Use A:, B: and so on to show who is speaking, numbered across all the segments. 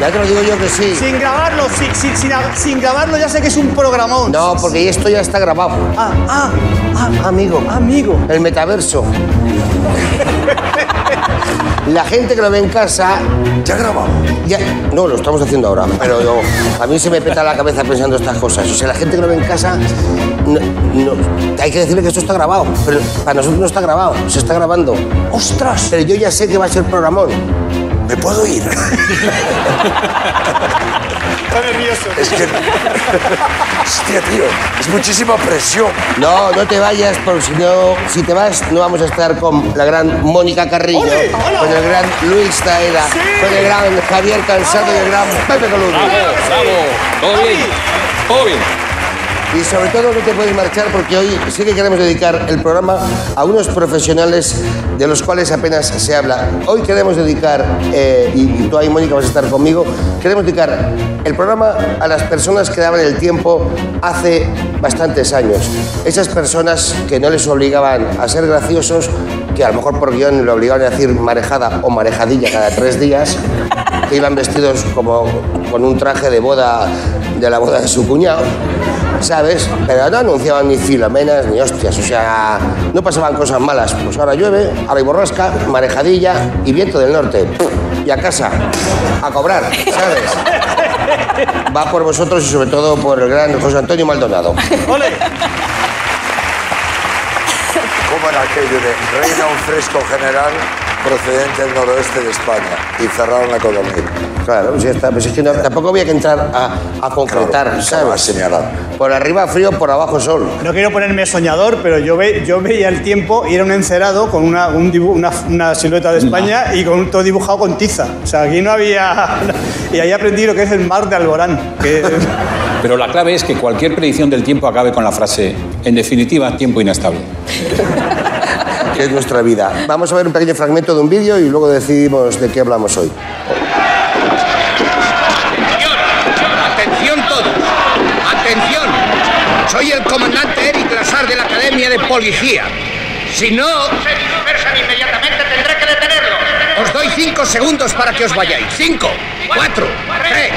A: Ya te lo digo yo que sí.
B: Sin grabarlo, sin, sin, sin, sin grabarlo ya sé que es un programón.
A: No, porque esto ya está grabado.
B: Ah, ah, ah,
A: Amigo.
B: amigo.
A: El metaverso. La gente que lo ve en casa
C: Ya grabamos.
A: Ya, no, lo estamos haciendo ahora, pero yo- a mí se me peta la cabeza pensando estas cosas. O sea, la gente que lo ve en casa, no- no- hay que decirle que esto está grabado, pero para nosotros no está grabado, se está grabando.
B: ¡Ostras!
A: Pero yo ya sé que va a ser programón.
C: ¿Me puedo ir?
B: Está nervioso.
C: Es que. Hostia, tío. Es muchísima presión.
A: No, no te vayas, porque si no, si te vas, no vamos a estar con la gran Mónica Carrillo,
B: ¡Ole! ¡Hola!
A: con el gran Luis Taeda,
B: ¡Sí!
A: con el gran Javier Cansado y el gran Pepe Columna.
D: Bravo, todo bien, todo bien.
A: Y sobre todo no te puedes marchar porque hoy sí que queremos dedicar el programa a unos profesionales de los cuales apenas se habla. Hoy queremos dedicar, eh, y y tú ahí Mónica vas a estar conmigo, queremos dedicar el programa a las personas que daban el tiempo hace bastantes años. Esas personas que no les obligaban a ser graciosos, que a lo mejor por guión le obligaban a decir marejada o marejadilla cada tres días que iban vestidos como con un traje de boda de la boda de su cuñado, ¿sabes? Pero no anunciaban ni filomenas ni hostias, o sea, no pasaban cosas malas. Pues ahora llueve, ahora hay borrasca, marejadilla y viento del norte. Y a casa, a cobrar, ¿sabes? Va por vosotros y sobre todo por el gran José Antonio Maldonado.
B: ¡Ole!
C: ¿Cómo era aquello de reina un fresco general procedente del noroeste de España? Y cerraron la colonia.
A: Claro, si está, pues es que no- tampoco había que entrar a, a concretar,
C: Claro, claro, a
A: ¿sabes?
C: señalar.
A: Por arriba frío, por abajo sol.
B: No quiero ponerme soñador, pero yo, ve, yo veía el tiempo y era un encerado con una, un dibu- una, una silueta de España y con todo dibujado con tiza. O sea, aquí no había... Y ahí aprendí lo que es el mar de Alborán. Que...
D: Pero la clave es que cualquier predicción del tiempo acabe con la frase, en definitiva, tiempo inestable.
A: que es nuestra vida. Vamos a ver un pequeño fragmento de un vídeo y luego decidimos de qué hablamos hoy.
E: Atención, atención todos, atención. Soy el comandante Eric Lazar de la Academia de Policía. Si no... Se dispersan inmediatamente, tendré que detenerlo. Os doy cinco segundos para que os vayáis. Cinco, cuatro, tres.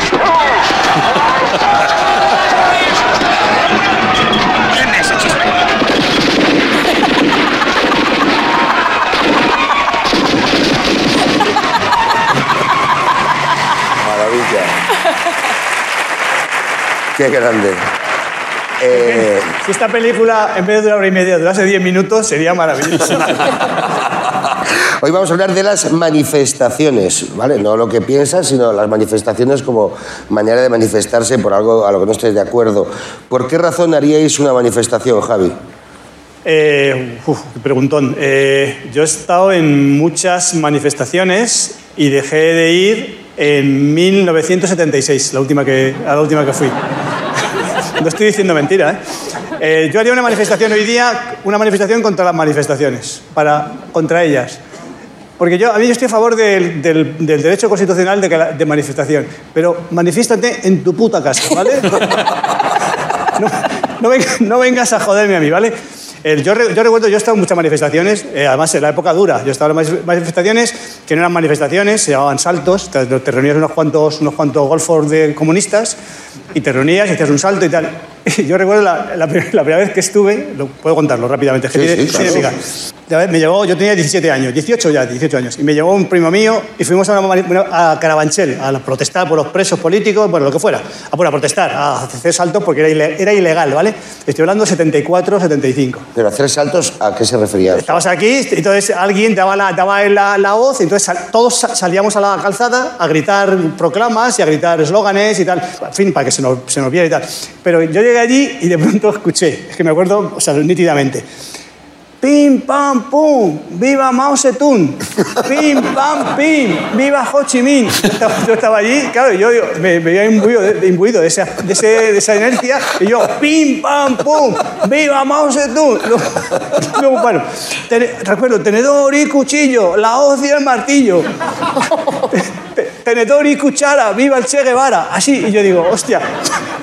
E: Denme ese chisme.
C: Maravilla.
A: Qué grande. Eh,
B: Si esta película, en vez de una hora y media, durase 10 minutos, sería maravilloso.
A: hoy vamos a hablar de las manifestaciones, ¿vale? No lo que piensas, sino las manifestaciones como manera de manifestarse por algo a lo que no estés de acuerdo. ¿Por qué razón haríais una manifestación, Javi?
B: Eh, uf, qué preguntón. Eh, yo he estado en muchas manifestaciones y dejé de ir en 1976, la última que, a la última que fui. No estoy diciendo mentira, ¿eh? Eh, Yo haría una manifestación hoy día, una manifestación contra las manifestaciones, para, contra ellas. Porque yo, a mí yo estoy a favor del, del- del derecho constitucional de, que la- de manifestación, pero manifiéstate en tu puta casa, ¿vale? no, no venga- no vengas a joderme a mí, ¿vale? El- yo, re- yo recuerdo, yo he estado en muchas manifestaciones, eh, además en la época dura, yo he estado en manif- manifestaciones que no eran manifestaciones, se llamaban saltos, te, te reunías unos cuantos, unos cuantos golfos de comunistas y te reunías y hacías un salto y tal. Y yo recuerdo la, la pri- la primera vez que estuve, lo, puedo contarlo rápidamente, es que
A: Sí,
B: tiene-
A: sí,
B: tiene
A: claro.
B: miga. Ya ves, me llevó, yo tenía 17 años, 18 ya, 18 años, y me llevó un primo mío y fuimos a, una mani- bueno, a Carabanchel a la- protestar por los presos políticos, bueno, lo que fuera, a, bueno, a protestar, a hacer saltos porque era, ile- era ilegal, ¿vale? Estoy hablando de 74, 75.
A: Pero hacer saltos, ¿a qué se refería?
B: Estabas aquí, entonces alguien daba la, daba la, la voz, entonces sal- todos sa- salíamos a la calzada a gritar proclamas y a gritar eslóganes y tal, en fin, para que se nos, se nos viera y tal. Pero yo llegué allí y de pronto escuché, es que me acuerdo, o sea, nítidamente, Pim, pam, pum, viva Mao Zedong. Pim, pam, pim, viva Ho Chi Minh. Yo estaba, yo estaba allí, claro, yo, yo me, me veía imbuido, de, imbuido de, esa, de, ese- de esa inercia y yo, pim, pam, pum, viva Mao Zedong. Luego, luego, bueno, tene- recuerdo, tenedor y cuchillo, la hoz y el martillo. Te- Tenedor y cuchara, viva el Che Guevara. Así, y yo digo, hostia,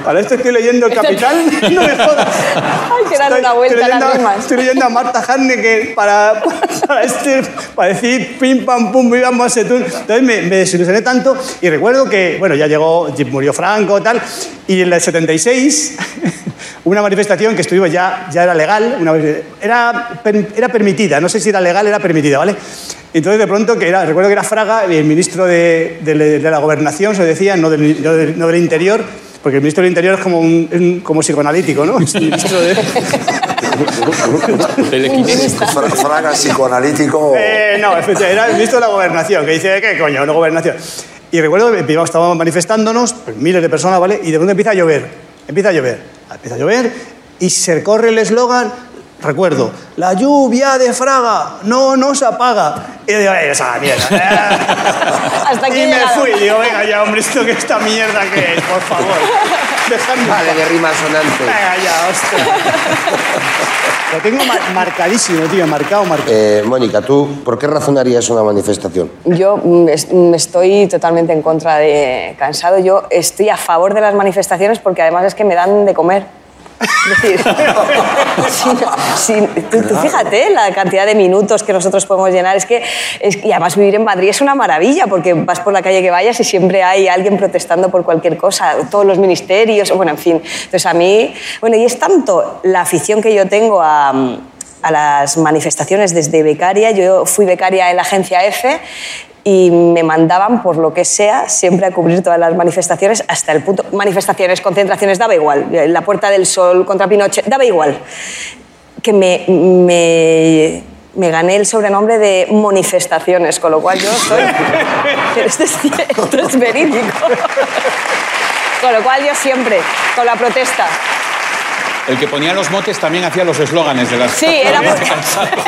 B: Ahora esto estoy leyendo El Capitán, no me jodas.
F: Hay que darle una vuelta a
B: leyendo,
F: las rimas.
B: estoy leyendo a Marta Haneke para, para, este, para decir pim, pam, pum, viva Mosetún. Entonces me, me desilusioné tanto y recuerdo que, bueno, ya llegó, murió Franco tal, y en el 76, una manifestación que estuvimos ya, ya era legal, una, era, per- era permitida, no sé si era legal, era permitida, ¿vale? Entonces de pronto, que era, recuerdo que era Fraga, el ministro de, de- de la Gobernación, se decía, no del- no del- no del Interior, porque el ministro del Interior es como un es un- como psicoanalítico, ¿no? Es el ministro de...
C: Fra- Fraga psicoanalítico.
B: Eh, no, efectivamente, era el ministro de la Gobernación, que dice, ¿qué coño? No gobernación. Y recuerdo que íbamos- estábamos manifestándonos, pues, miles de personas, ¿vale? Y de pronto empieza a llover, empieza a llover, empieza a llover, y se corre el eslogan, recuerdo, la lluvia de Fraga no nos apaga. Y yo digo, "Eh, esa mierda.
F: Hasta aquí
B: y
F: he
B: me
F: llegado.
B: fui, digo, venga ya, hombre, esto que esta mierda que es, por favor. Dejadme.
A: Vale, de rima sonante.
B: Venga ya, hostia. Lo tengo mar- marcadísimo, tío, marcado, marcado.
A: Eh, Mónica, ¿tú por qué razonarías una manifestación?
F: Yo mm, es- mm, estoy totalmente en contra de cansado. Yo estoy a favor de las manifestaciones porque además es que me dan de comer. Es decir, si no- si- tú, tú fíjate la cantidad de minutos que nosotros podemos llenar. Es que, es, y además vivir en Madrid es una maravilla porque vas por la calle que vayas y siempre hay alguien protestando por cualquier cosa, todos los ministerios, bueno, en fin. Entonces a mí, bueno, y es tanto la afición que yo tengo a, mm, a las manifestaciones desde becaria. Yo fui becaria en la agencia F y me mandaban por lo que sea siempre a cubrir todas las manifestaciones hasta el punto manifestaciones concentraciones daba igual la puerta del sol contra Pinochet daba igual que me, me, me gané el sobrenombre de manifestaciones con lo cual yo soy pero esto es, esto es verídico con lo cual yo siempre con la protesta
D: El que ponía los motes también hacía los eslóganes de las...
F: sí era porque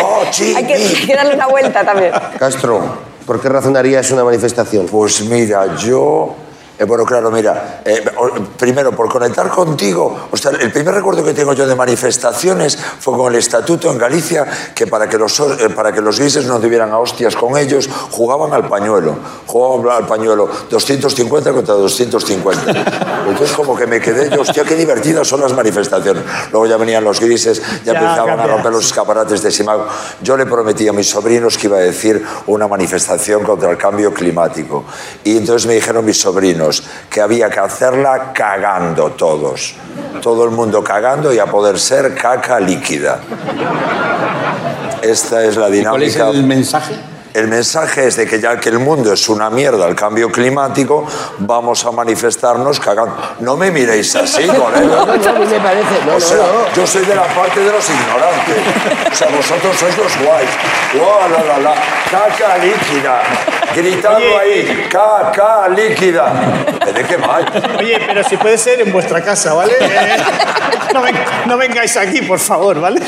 C: ¡Oh, chi,
F: hay que, hay que darle una vuelta también
A: Castro, ¿por qué razonarías una manifestación?
C: Pues mira, yo. eh, bueno, claro, mira, eh, o- primero, por conectar contigo, o sea, el primer recuerdo que tengo yo de manifestaciones fue con el estatuto en Galicia, que para que los, or- eh, para que los grises no tuvieran a hostias con ellos, jugaban al pañuelo, jugaban al pañuelo, 250 contra 250. Entonces como que me quedé yo, hostia, qué divertidas son las manifestaciones. Luego ya venían los grises, ya,
B: Ya,
C: empezaban a
B: cambia,
C: romper los
B: sí.
C: escaparates de Simago. Yo le prometí a mis sobrinos que iba a decir una manifestación contra el cambio climático. Y entonces me dijeron mis sobrinos que había que hacerla cagando todos. Todo el mundo cagando y a poder ser caca líquida. Esta es la
D: ¿Y
C: dinámica.
D: ¿Cuál es el mensaje?
C: El mensaje es de que ya que el mundo es una mierda, el cambio climático, vamos a manifestarnos cagando. No me miréis así, colega.
A: No, no, a mí me parece. No,
C: O sea,
A: no, no.
C: yo soy de la parte de los ignorantes. O sea, vosotros sois los guays. ¡Guau, la, la, la! ¡Caca líquida! Gritando
B: eh,
C: ahí, ¡caca líquida! ¿De qué mal?
B: Oye, pero si puede ser en vuestra casa, ¿vale? Eh, no, ven- no vengáis aquí, por favor, ¿vale?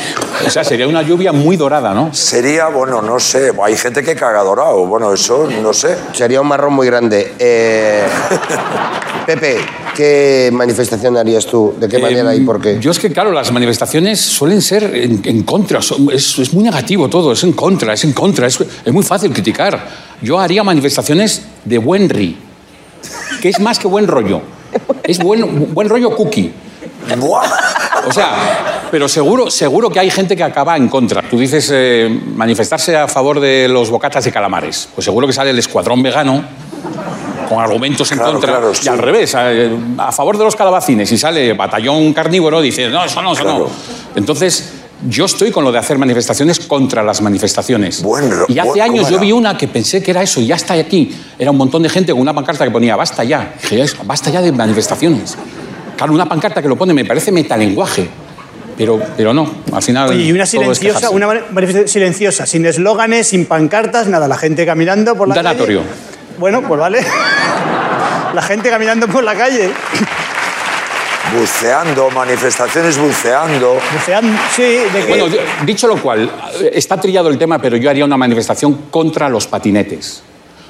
D: O sea, sería una lluvia muy dorada, ¿no?
C: Sería, bueno, no sé, hay gente que caga dorado. Bueno, eso, no sé.
A: Sería un marrón muy grande. Eh, Pepe, ¿qué manifestación harías tú? ¿De qué manera y
D: Em,
A: por qué?
D: Yo es que, claro, las manifestaciones suelen ser en, en contra. son- es, es muy negativo todo, es en contra, es en contra. Es, es muy fácil criticar. Yo haría manifestaciones de buen ri, que es más que buen rollo. Es buen, buen rollo cookie.
C: ¡Buah!
D: O sea, pero seguro, seguro que hay gente que acaba en contra. Tú dices eh, manifestarse a favor de los bocatas de calamares. Pues seguro que sale el escuadrón vegano con argumentos en
C: Claro,
D: contra.
C: claro,
D: y
C: sí.
D: al revés, a, eh, a favor de los calabacines. Y sale batallón carnívoro, dice, no, eso no, eso
C: Claro.
D: no. Entonces, yo estoy con lo de hacer manifestaciones contra las manifestaciones.
C: Buen ro-
D: y hace
C: buen-
D: años
C: ¿cómo
D: yo
C: era?
D: vi una que pensé que era eso, y ya está aquí. Era un montón de gente con una pancarta que ponía, basta ya. Dije, "Ya es- basta ya de manifestaciones. Claro, una pancarta que lo pone me parece metalenguaje. Pero, pero no, al final.
B: Y una
D: todo es
B: silenciosa,
D: quejarse.
B: una mani- manifestación silenciosa, sin eslóganes, sin pancartas, nada, la gente caminando por la
D: Un tanatorio.
B: calle. Bueno, pues vale. La gente caminando por la calle,
C: Buceando, manifestaciones buceando.
B: buceando, sí, de que...
D: Bueno, yo- dicho lo cual, está trillado el tema, pero yo haría una manifestación contra los patinetes.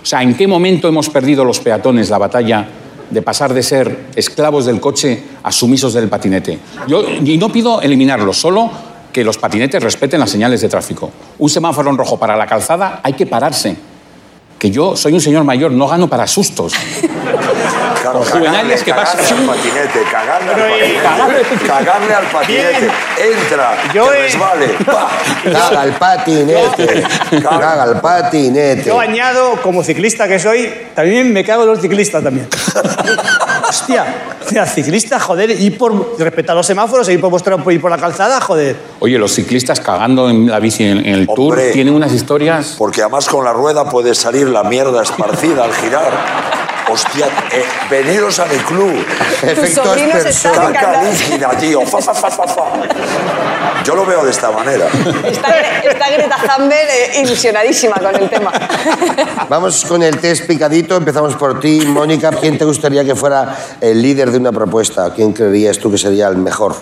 D: O sea, ¿en qué momento hemos perdido los peatones la batalla de pasar de ser esclavos del coche a sumisos del patinete? Yo, y no pido eliminarlos, solo que los patinetes respeten las señales de tráfico. Un semáforo en rojo para la calzada, hay que pararse. Que yo soy un señor mayor, no gano para sustos.
C: Claro,
D: Por juveniles que
C: cagarle
D: pasan.
C: al patinete, cagarle al
B: Pero, eh,
C: patinete.
D: cagarle.
C: Cagarle al patinete.
B: Bien.
C: Entra,
B: Yo,
C: te
B: eh,
C: resbale. pa.
A: Caga el patinete. Caga el patinete.
B: Yo añado, como ciclista que soy, también me cago en los ciclistas también. Hostia, hostia, ciclista, joder, y por respetar los semáforos, y por, vuestra- ir por la calzada, joder.
D: Oye, los ciclistas cagando en la bici en, en el Tour
C: Hombre.
D: tienen unas historias.
C: Porque además con la rueda puede salir la mierda esparcida al girar. Hostia, eh, veniros a mi club.
A: Efectos
F: sobrinos están
A: personas.
C: Caca
F: encantado.
C: líquida, tío. Fa, fa, fa, fa, fa. Yo lo veo de esta manera.
F: Está, Gre- está Greta Thunberg eh, ilusionadísima con el tema.
A: Vamos con el test picadito. Empezamos por ti, Mónica. ¿Quién te gustaría que fuera el líder de una propuesta? ¿Quién creerías tú que sería el mejor?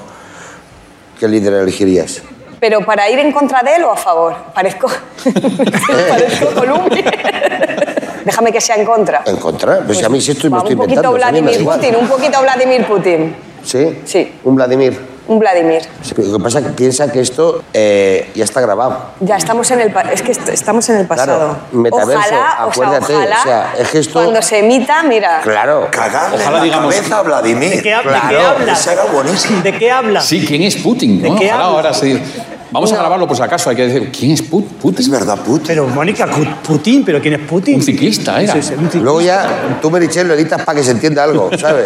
A: ¿Qué líder elegirías?
F: Pero para ir en contra de él o a favor, parezco, parezco Columbi. Déjame que sea en contra.
A: ¿En contra? Pues, a mí sí estoy, me
F: Va,
A: estoy
F: un poquito
A: inventando. o sea, a mí me da
F: Vladimir
A: igual.
F: Putin, un poquito Vladimir Putin,
A: ¿Sí?
F: Sí.
A: Un Vladimir.
F: un Vladimir.
A: Sí, pero Lo que pasa es que piensa que esto eh, ya está grabado.
F: Ya estamos en el pa- es que est- estamos en el pasado.
A: metaverso,
F: ojalá, o sea,
A: acuérdate,
F: ojalá
A: o sea, es que esto-
F: cuando se emita, mira,
A: Claro.
C: Cagarle
D: Ojalá
C: la
D: digamos-
C: cabeza a Vladimir.
B: ¿De qué, ha- de qué
A: Claro,
B: hablas?
C: esa era buenísima.
B: ¿De qué hablas?
D: Pues Sí, ¿quién es Putin?
B: ¿De
D: no?
B: qué
D: Ojalá
B: hablas?
D: ahora sí. Vamos a grabarlo por si acaso. Hay que decir, ¿quién es Put-
C: Es
D: Putin?
C: verdad, puto.
B: Pero Mónica, Cu- Putin, ¿pero quién es Putin?
D: Un ciclista era.
B: Sí, sí, un ciclista.
A: Luego ya tú, Merichel, lo editas para que se entienda algo, ¿sabes?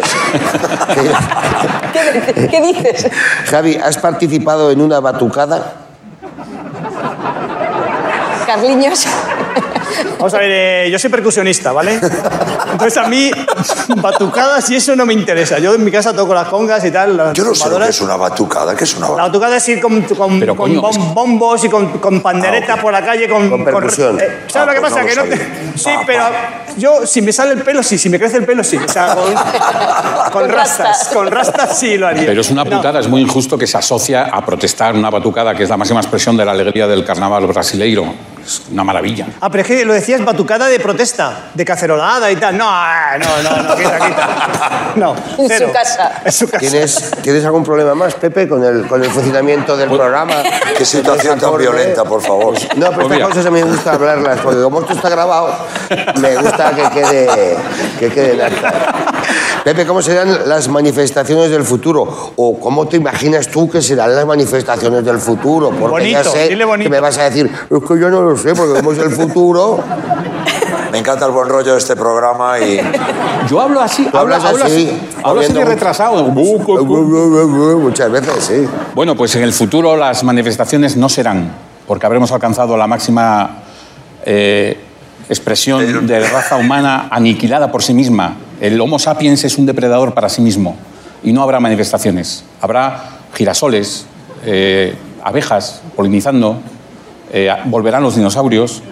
F: ¿qué, qué dices?
A: Javi, ¿has participado en una batucada?
F: Carliños,
B: Vamos a ver, eh, yo soy percusionista, ¿vale? Entonces a mí, batucadas y eso no me interesa. Yo en mi casa toco las congas y tal, las
C: Yo no sé lo
B: tumbadoras.
C: que es una batucada. ¿Qué es una
B: La
C: batucada?
B: autocada es ir con, con-
D: Pero,
B: con
D: coño,
B: bom-
D: es que-
B: bombos y con, con panderetas
C: Ah, ok.
B: por la calle. Con, eh,
A: Con percusión.
B: ¿Sabes
C: Ah,
B: lo que
C: pues
B: pasa?
C: no
B: que
C: lo
B: no te-
C: sabía.
B: Sí,
C: Ah,
B: pero yo, si me sale el pelo, sí. Si me crece el pelo, sí. O sea, con, con
F: Con
B: rastas.
F: rastas.
B: Con rastas sí lo haría.
D: Pero es una
B: No.
D: putada, es muy injusto que se asocia a protestar una batucada, que es la máxima expresión de la alegría del carnaval brasileiro. Es una maravilla.
B: Ah, pero es que lo decías batucada de protesta, de cacerolada y tal. No, ah, no, no, no, quita, quita. No,
F: En su
B: cero.
F: casa.
B: En su casa.
A: ¿Tienes, ¿tienes algún problema más, Pepe, con el, con el funcionamiento del programa?
C: Pues, Qué situación tan
A: Acorde.
C: violenta, por favor.
A: No, pero
D: Pues
A: estas
D: mira.
A: cosas a mí me gusta hablarlas, porque como esto está grabado, me gusta que quede, que quede en acta. Pepe, ¿cómo serán las manifestaciones del futuro? ¿O cómo te imaginas tú que serán las manifestaciones del futuro? Porque ya
B: Bonito,
A: sé
B: dile bonito.
A: que me vas a decir, es que yo no lo sé, porque como es el futuro,
C: Me encanta el buen rollo de este programa y
D: Yo hablo así,
A: Tú
D: hablo,
A: hablas
D: hablo
A: así,
D: así, hablo así
A: habiendo
D: de
A: un-
D: retrasado. Bu, cu, cu.
A: muchas veces, sí.
D: Bueno, pues en el futuro las manifestaciones no serán, porque habremos alcanzado la máxima eh, expresión de raza humana aniquilada por sí misma. El Homo sapiens es un depredador para sí mismo y no habrá manifestaciones. Habrá girasoles, eh, abejas polinizando, eh, volverán los dinosaurios,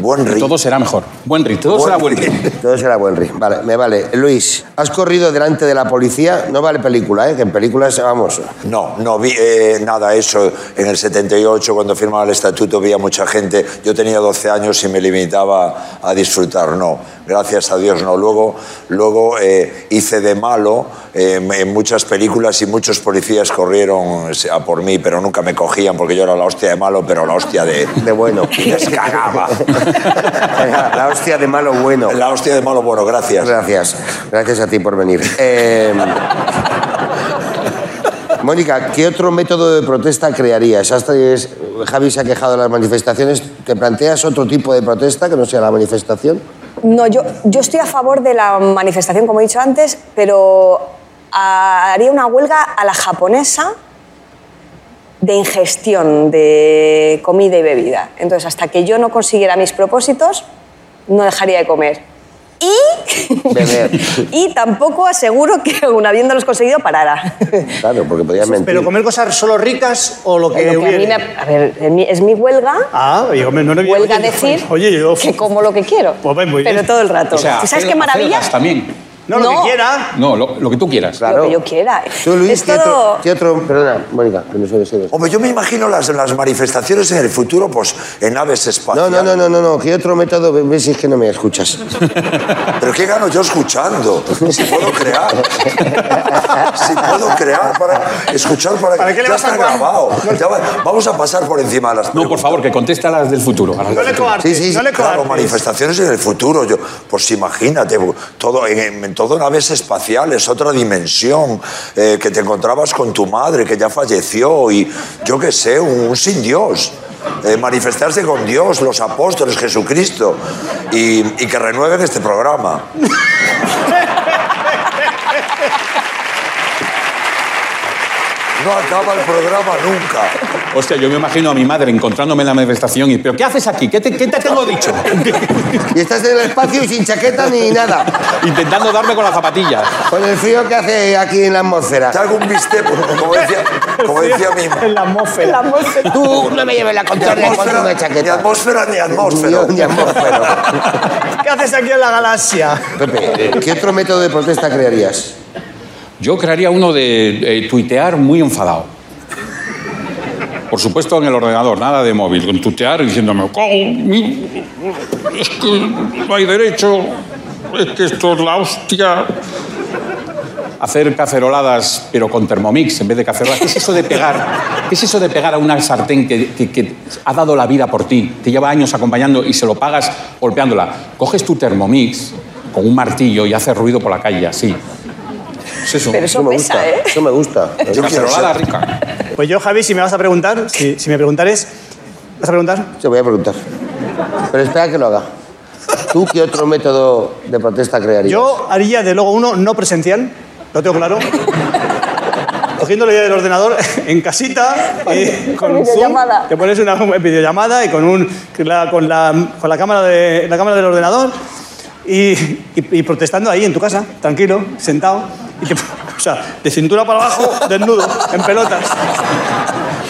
C: buen
D: y
C: ritmo.
D: todo será mejor. Buen ritmo, todo
C: Buen
D: será buen
C: ritmo.
D: ritmo.
A: Todo será buen ritmo. Vale, me vale. Luis, has corrido delante de la policía. No vale película, ¿eh? Que en películas, vamos.
C: No, no vi eh, nada eso. En el 78, cuando firmaba el estatuto, vi a mucha gente. Yo tenía 12 años y me limitaba a disfrutar. No, gracias a Dios no. Luego, luego eh, hice de malo eh, en muchas películas y muchos policías corrieron eh, a por mí, pero nunca me cogían porque yo era la hostia de malo, pero la hostia de...
A: De bueno.
C: Y les cagaba.
A: La hostia de malo bueno.
C: La hostia de malo, bueno, gracias.
A: Gracias. Gracias a ti por venir. Eh, Mónica, ¿qué otro método de protesta crearías? Hasta es- Javi se ha quejado de las manifestaciones. ¿Te planteas otro tipo de protesta que no sea la manifestación?
F: no, yo, yo estoy a favor de la manifestación, como he dicho antes, pero ah, haría una huelga a la japonesa de ingestión de comida y bebida. Entonces, hasta que yo no consiguiera mis propósitos, no dejaría de comer. Y,
A: Beber.
F: y tampoco aseguro que, aun habiéndolos conseguido, parara.
A: Claro, porque podías mentir.
B: Pero comer cosas solo ricas o lo que,
F: Lo que a, mí
B: hubiere.
F: me, a ver, en mi- es mi huelga.
B: Ah, oye, hombre, no lo había-
F: Huelga
B: Eh, oye, yo-
F: decir
B: Oye, yo.
F: que como lo que quiero,
B: Pues ven, muy
F: pero
B: bien.
F: todo el rato.
D: O sea,
F: ¿Y ¿Sabes qué
D: hacer-
F: maravilla?
D: hacerlas también.
B: No, lo
F: No.
B: que quiera.
D: No, lo, lo que tú quieras.
A: Claro.
F: Lo que yo quiera.
A: Tú, Luis,
F: es
A: ¿qué,
F: todo...
A: otro, qué otro- Perdona, Mónica, que no soy de seros.
C: Hombre, yo me imagino las, las manifestaciones en el futuro, pues en aves
A: No,
C: espaciales.
A: no, no, no, no, no. ¿Qué otro método? Ves si es que no me escuchas.
C: ¿Pero qué gano yo escuchando? Si puedo crear. Si puedo crear para escuchar para,
B: ¿Para qué le
C: ya
B: vas a
C: está
B: cua-
C: grabado. Ya va- vamos a pasar por encima de las
D: No, por
C: preguntas.
D: favor, que conteste a las del futuro. a las
B: No
D: del
B: le
D: futuro.
B: coartes,
A: Sí, sí,
B: no le
C: Claro,
B: coartes.
C: manifestaciones en el futuro. Yo, pues imagínate, todo en, en- en todo naves espaciales, otra dimensión, eh, que te encontrabas con tu madre que ya falleció y yo qué sé, un, un sin Dios. Eh, manifestarse con Dios, los apóstoles, Jesucristo y, y que renueven este programa. No acaba el programa nunca.
D: Hostia, yo me imagino a mi madre encontrándome en la manifestación y, ¿pero qué haces aquí? ¿Qué te, qué te tengo dicho?
A: Y estás en el espacio y sin chaqueta ni nada.
D: Intentando darme con las zapatillas.
A: Con el frío que hace aquí en la atmósfera.
C: Te hago un bistec, como decía, como decía mi
B: En la atmósfera.
A: Tú no me lleves la
C: Ni
A: contraria con
C: atmósfera,
A: una
C: ni
A: chaqueta.
C: atmósfera, ni atmósfera.
A: Ni atmósfera.
B: ¿Qué haces aquí en la galaxia?
A: Pepe, ¿qué otro método de protesta crearías?
D: Yo crearía uno de eh, tuitear muy enfadado. Por supuesto en el ordenador, nada de móvil, con tuitear diciéndome, "Cago en mi- es que no hay derecho, es que esto es la hostia. Hacer caceroladas, pero con Thermomix en vez de caceroladas. ¿Qué es eso de pegar? ¿Qué es eso de pegar a una sartén que, que- que ha dado la vida por ti? Te lleva años acompañando y se lo pagas golpeándola. Coges tu Thermomix con un martillo y haces ruido por la calle, así. Es eso.
F: Pero eso
A: me
F: pesa,
A: gusta.
F: ¿eh?
A: Eso me gusta.
C: Yo quiero
D: Cacerolada
C: ser,
D: rica.
B: Pues yo, Javi, si me vas a preguntar, si, si me preguntares, ¿vas a preguntar?
A: Se voy a preguntar. Pero espera que lo haga. ¿Tú qué otro método de protesta crearías?
B: Yo haría de luego uno no presencial, lo tengo claro. Cogiendo la idea del ordenador en casita, eh, con,
F: con
B: un zoom,
F: videollamada.
B: te pones una videollamada y con, un, con la, con la- con la cámara, de, la cámara del ordenador y, y- y protestando ahí en tu casa, tranquilo, sentado. y te- o sea, de cintura para abajo, desnudo, en pelotas.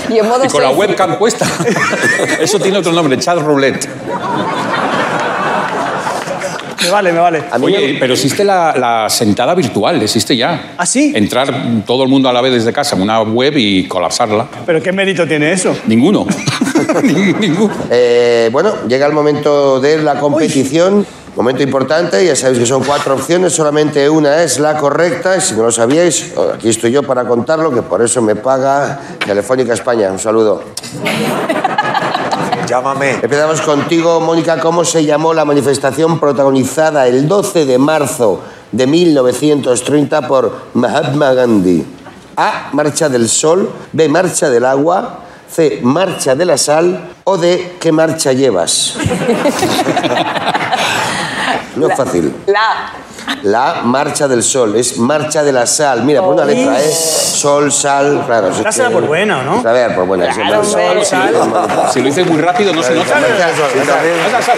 F: Y en modo
D: Y con la
F: selfie.
D: webcam puesta. Eso tiene otro nombre, chat roulette.
B: Me vale, me vale.
D: Oye, pero existe la, la sentada virtual, existe ya.
B: ¿Ah, sí?
D: Entrar todo el mundo a la vez desde casa en una web y colapsarla.
B: ¿Pero qué mérito tiene eso?
D: Ninguno. Ni- Ninguno.
A: Eh, bueno, llega el momento de la competición, momento importante, ya sabéis que son cuatro opciones, solamente una es la correcta, y si no lo sabíais, aquí estoy yo para contarlo, que por eso me paga Telefónica España. Un saludo.
C: Llámame.
A: Empezamos contigo, Mónica, ¿cómo se llamó la manifestación protagonizada el 12 de marzo de 1930 por Mahatma Gandhi? A, Marcha del Sol, B, Marcha del Agua, C, Marcha de la Sal o D, ¿qué marcha llevas? No es fácil.
F: La.
A: La marcha del sol es marcha de la sal. Mira, por una letra, ¿eh? Sol, sal, claro.
B: La sal por buena, ¿no?
A: A ver, por buena. sí,
F: Claro,
A: marcha del
F: hombre.
A: sol, marcha
D: Si lo dices muy rápido no se
A: del
D: nota.
A: sol, marcha del sol.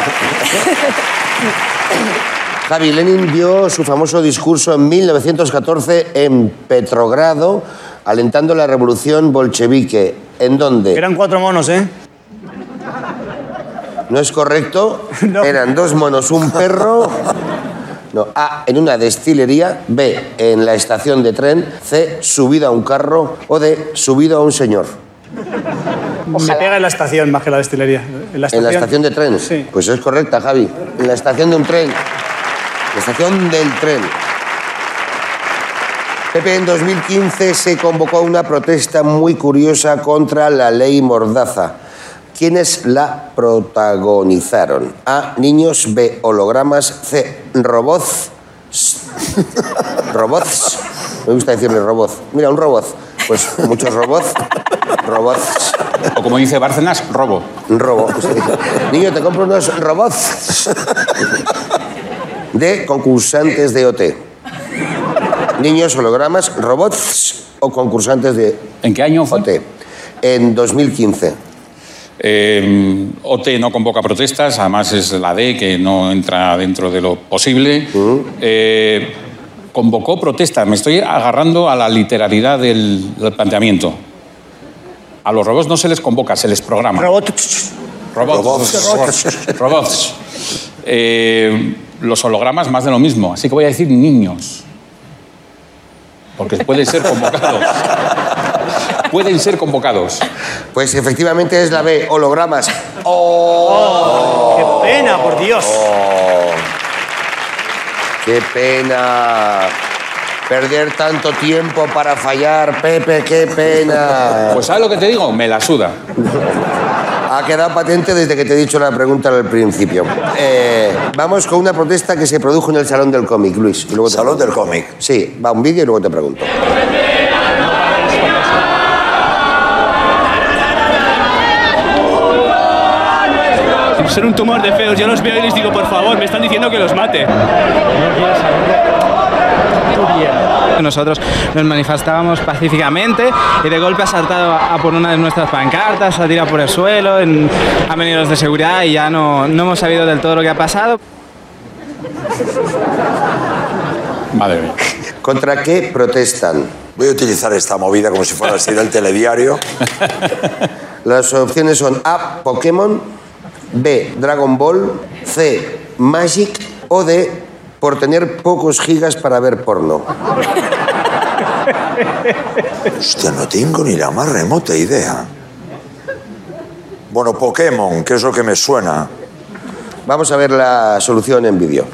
A: Javi Lenin dio su famoso discurso en 1914 en Petrogrado, alentando la revolución bolchevique. ¿En dónde?
B: Eran cuatro monos, ¿eh?
A: ¿No es correcto?
B: No.
A: Eran dos monos, un perro. No, A, en una destilería, B, en la estación de tren, C, subido a un carro o D, subido a un señor.
B: Me pega en la estación más que la destilería. En la
A: En
B: estación,
A: la estación de tren.
B: Sí.
A: Pues es correcta, Javi. En la estación de un tren. La estación del tren. Pepe, en 2015 se convocó a una protesta muy curiosa contra la ley Mordaza. ¿Quiénes la protagonizaron? A. Niños. B. Hologramas. C. Robots. Robots. Me gusta decirle robots. Mira, un robot. Pues muchos robots. Robots.
D: O como dice Bárcenas, robo.
A: Un robo. Niño, te compro unos robots de concursantes de OT. Niños, hologramas, robots o concursantes de
D: ¿En qué año fue?
A: OT. En 2015.
D: Eh, OT no convoca protestas, además es la D que no entra dentro de lo posible. Eh, convocó protestas, me estoy agarrando a la literalidad del, del planteamiento. A los robots no se les convoca, se les programa.
B: Robot.
D: robots. Robots. Robots. Eh, los hologramas más de lo mismo, así que voy a decir niños. Porque pueden ser convocados. pueden ser convocados.
A: Pues efectivamente es la B, hologramas.
B: ¡Qué pena, por Dios!
A: ¡Qué pena! Perder tanto tiempo para fallar, Pepe, qué pena.
D: Pues ¿sabes lo que te digo? Me la suda.
A: Ha quedado patente desde que te he dicho la pregunta al principio. Eh, vamos con una protesta que se produjo en el Salón del Cómic, Luis. y luego te
C: Salón del
A: pregunto.
C: cómic.
A: Sí, va un vídeo y luego te pregunto.
G: Son un tumor de feos. Yo los veo y les digo, por favor, me están diciendo que los mate. Nosotros nos manifestábamos pacíficamente y de golpe ha saltado a por una de nuestras pancartas, ha tirado por el suelo, en- han venido los de seguridad y ya no, no hemos sabido del todo lo que ha pasado.
D: Madre mía.
A: ¿Contra qué protestan?
C: Voy a utilizar esta movida como si fuera a ser el telediario.
A: Las opciones son A, Pokémon, B, Dragon Ball, C, Magic o D, por tener pocos gigas para ver porno.
C: Hostia, no tengo ni la más remota idea. Bueno, Pokémon, que es lo que me suena.
A: Vamos a ver la solución en vídeo.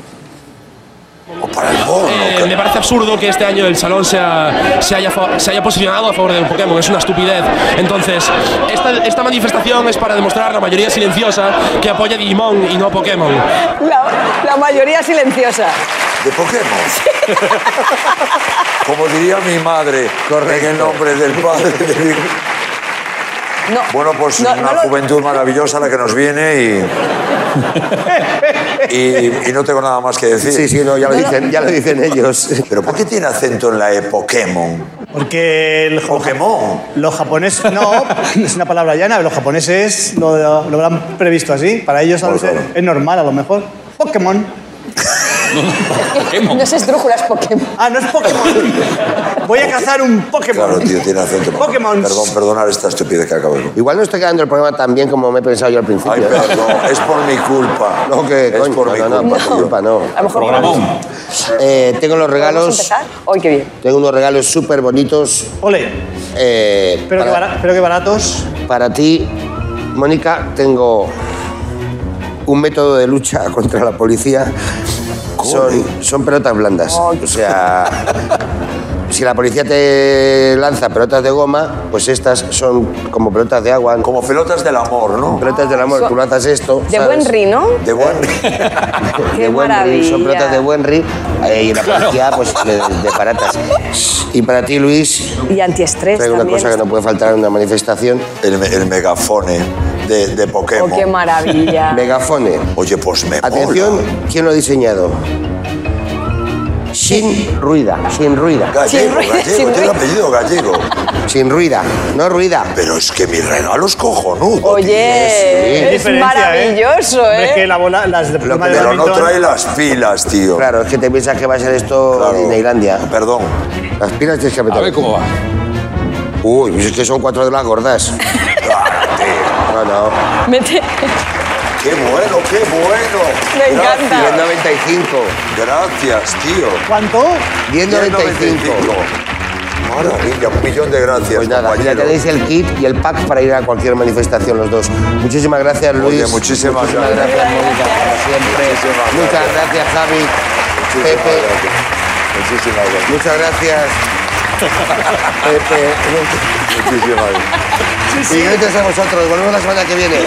C: O para el porno.
H: Eh, me
C: que-
H: parece absurdo que este año el salón sea- se, haya, fa- se haya posicionado a favor de Pokémon, es una estupidez. Entonces, esta, esta manifestación es para demostrar a la mayoría silenciosa que apoya a Digimon y no a Pokémon.
F: La, la mayoría silenciosa.
C: De Pokémon. Como diría mi madre, en el nombre del padre. del Hijo.
F: No,
C: Bueno, pues
F: no-
C: una
F: no lo-
C: juventud maravillosa la que nos viene y, y, y no tengo nada más que decir.
A: Sí, sí, no, ya lo dicen, ya lo dicen ellos.
C: Pero ¿por qué tiene acento en la E Pokémon?
B: Porque el jo-
C: Pokémon.
B: los japoneses, no, es una palabra llana, los japoneses lo, lo habrán previsto así. Para ellos a
C: Por
B: veces
C: favor.
B: es normal, a lo mejor. Pokémon.
F: No es esdrújula, es Pokémon.
B: Ah, no es Pokémon. Voy a cazar un Pokémon.
C: Claro, tío, tiene acento.
B: Pokémon.
C: Perdón, perdonar esta estupidez que acabo de
A: Igual no está quedando el programa tan bien como me he pensado yo al principio.
C: Ay,
A: ¿eh?
C: perdón, es por mi culpa.
A: No, que
C: es
A: coño, pues.
C: por
A: no,
C: mi
A: no, no,
C: culpa.
A: por tu culpa no.
F: A lo mejor
D: Programón.
A: Eh, tengo los
F: ¿Podemos
A: regalos,
F: empezar? Hoy qué bien.
A: tengo unos regalos súper bonitos
B: Ole,
A: eh,
B: pero, que
A: para,
B: bara- pero que baratos.
A: para ti, Mónica, tengo un método de lucha contra la policía. Son, son pelotas blandas. O sea, si la policía te lanza pelotas de goma, pues estas son como pelotas de agua,
C: Como pelotas del amor, ¿no?
A: pelotas del amor.
F: Ah, Son-
A: Tú lanzas esto.
F: De
A: ¿sabes?
F: buen rino.
C: De buen...
F: Qué
A: de buen ri,
F: maravilla.
A: son pelotas de buen ri eh, y la policía pues de, de baratas. Y para ti, Luis,
F: Y antiestrés
A: traigo una
F: Pues también.
A: cosa que no puede faltar en una manifestación.
C: el, me- el megafone de, de Pokémon.
F: Oh, qué maravilla.
A: Megafone.
C: Oye, pues me
A: Atención,
C: mola.
A: ¿quién lo ha diseñado? Sin ruida, sin ruida,
C: Gallego,
F: Sin ruido,
C: gallego,
F: sin
C: tiene
F: ruido.
C: apellido gallego.
A: sin ruida, no ruida.
C: Pero es que mi regalo es cojonudo.
A: Sí,
F: Oye, es
D: ¿eh?
B: Diferencia, ¿eh?
F: maravilloso,
B: Hombre, Es que
F: ¿eh?
B: la bola, las de
C: tío. Lo
B: pluma
C: que-
B: de
C: pero no
B: badminton-
C: trae las pilas, tío.
A: Claro, es que te piensas que va a ser esto
C: Claro.
A: Disneylandia.
C: Perdón.
A: Las pilas tienes que
D: A ver
A: apretar.
D: cómo va.
A: Uy, pues es que son cuatro de las gordas.
C: Ah,
A: No,
C: tío,
A: no.
F: Mete-
C: Qué bueno, qué bueno.
F: Me encanta.
A: 10.95.
C: Gracias, tío.
B: ¿Cuánto?
A: 10.95.
C: 95. Maravilla, un millón de gracias,
A: Pues nada, ya
C: compañero.
A: tenéis el kit y el pack para ir a cualquier manifestación los dos. Muchísimas gracias, Luis.
C: Oye, muchísimas
A: Muchísimas
C: gracias.
A: gracias, Mónica, como siempre.
C: Muchísimas
A: Muchas gracias, Javi.
C: Muchísimas
A: Pepe.
C: gracias. Muchísimas gracias.
A: Muchas gracias. Pepe.
C: Muchísimas gracias.
A: Y gracias a vosotros. Volvemos la semana que viene.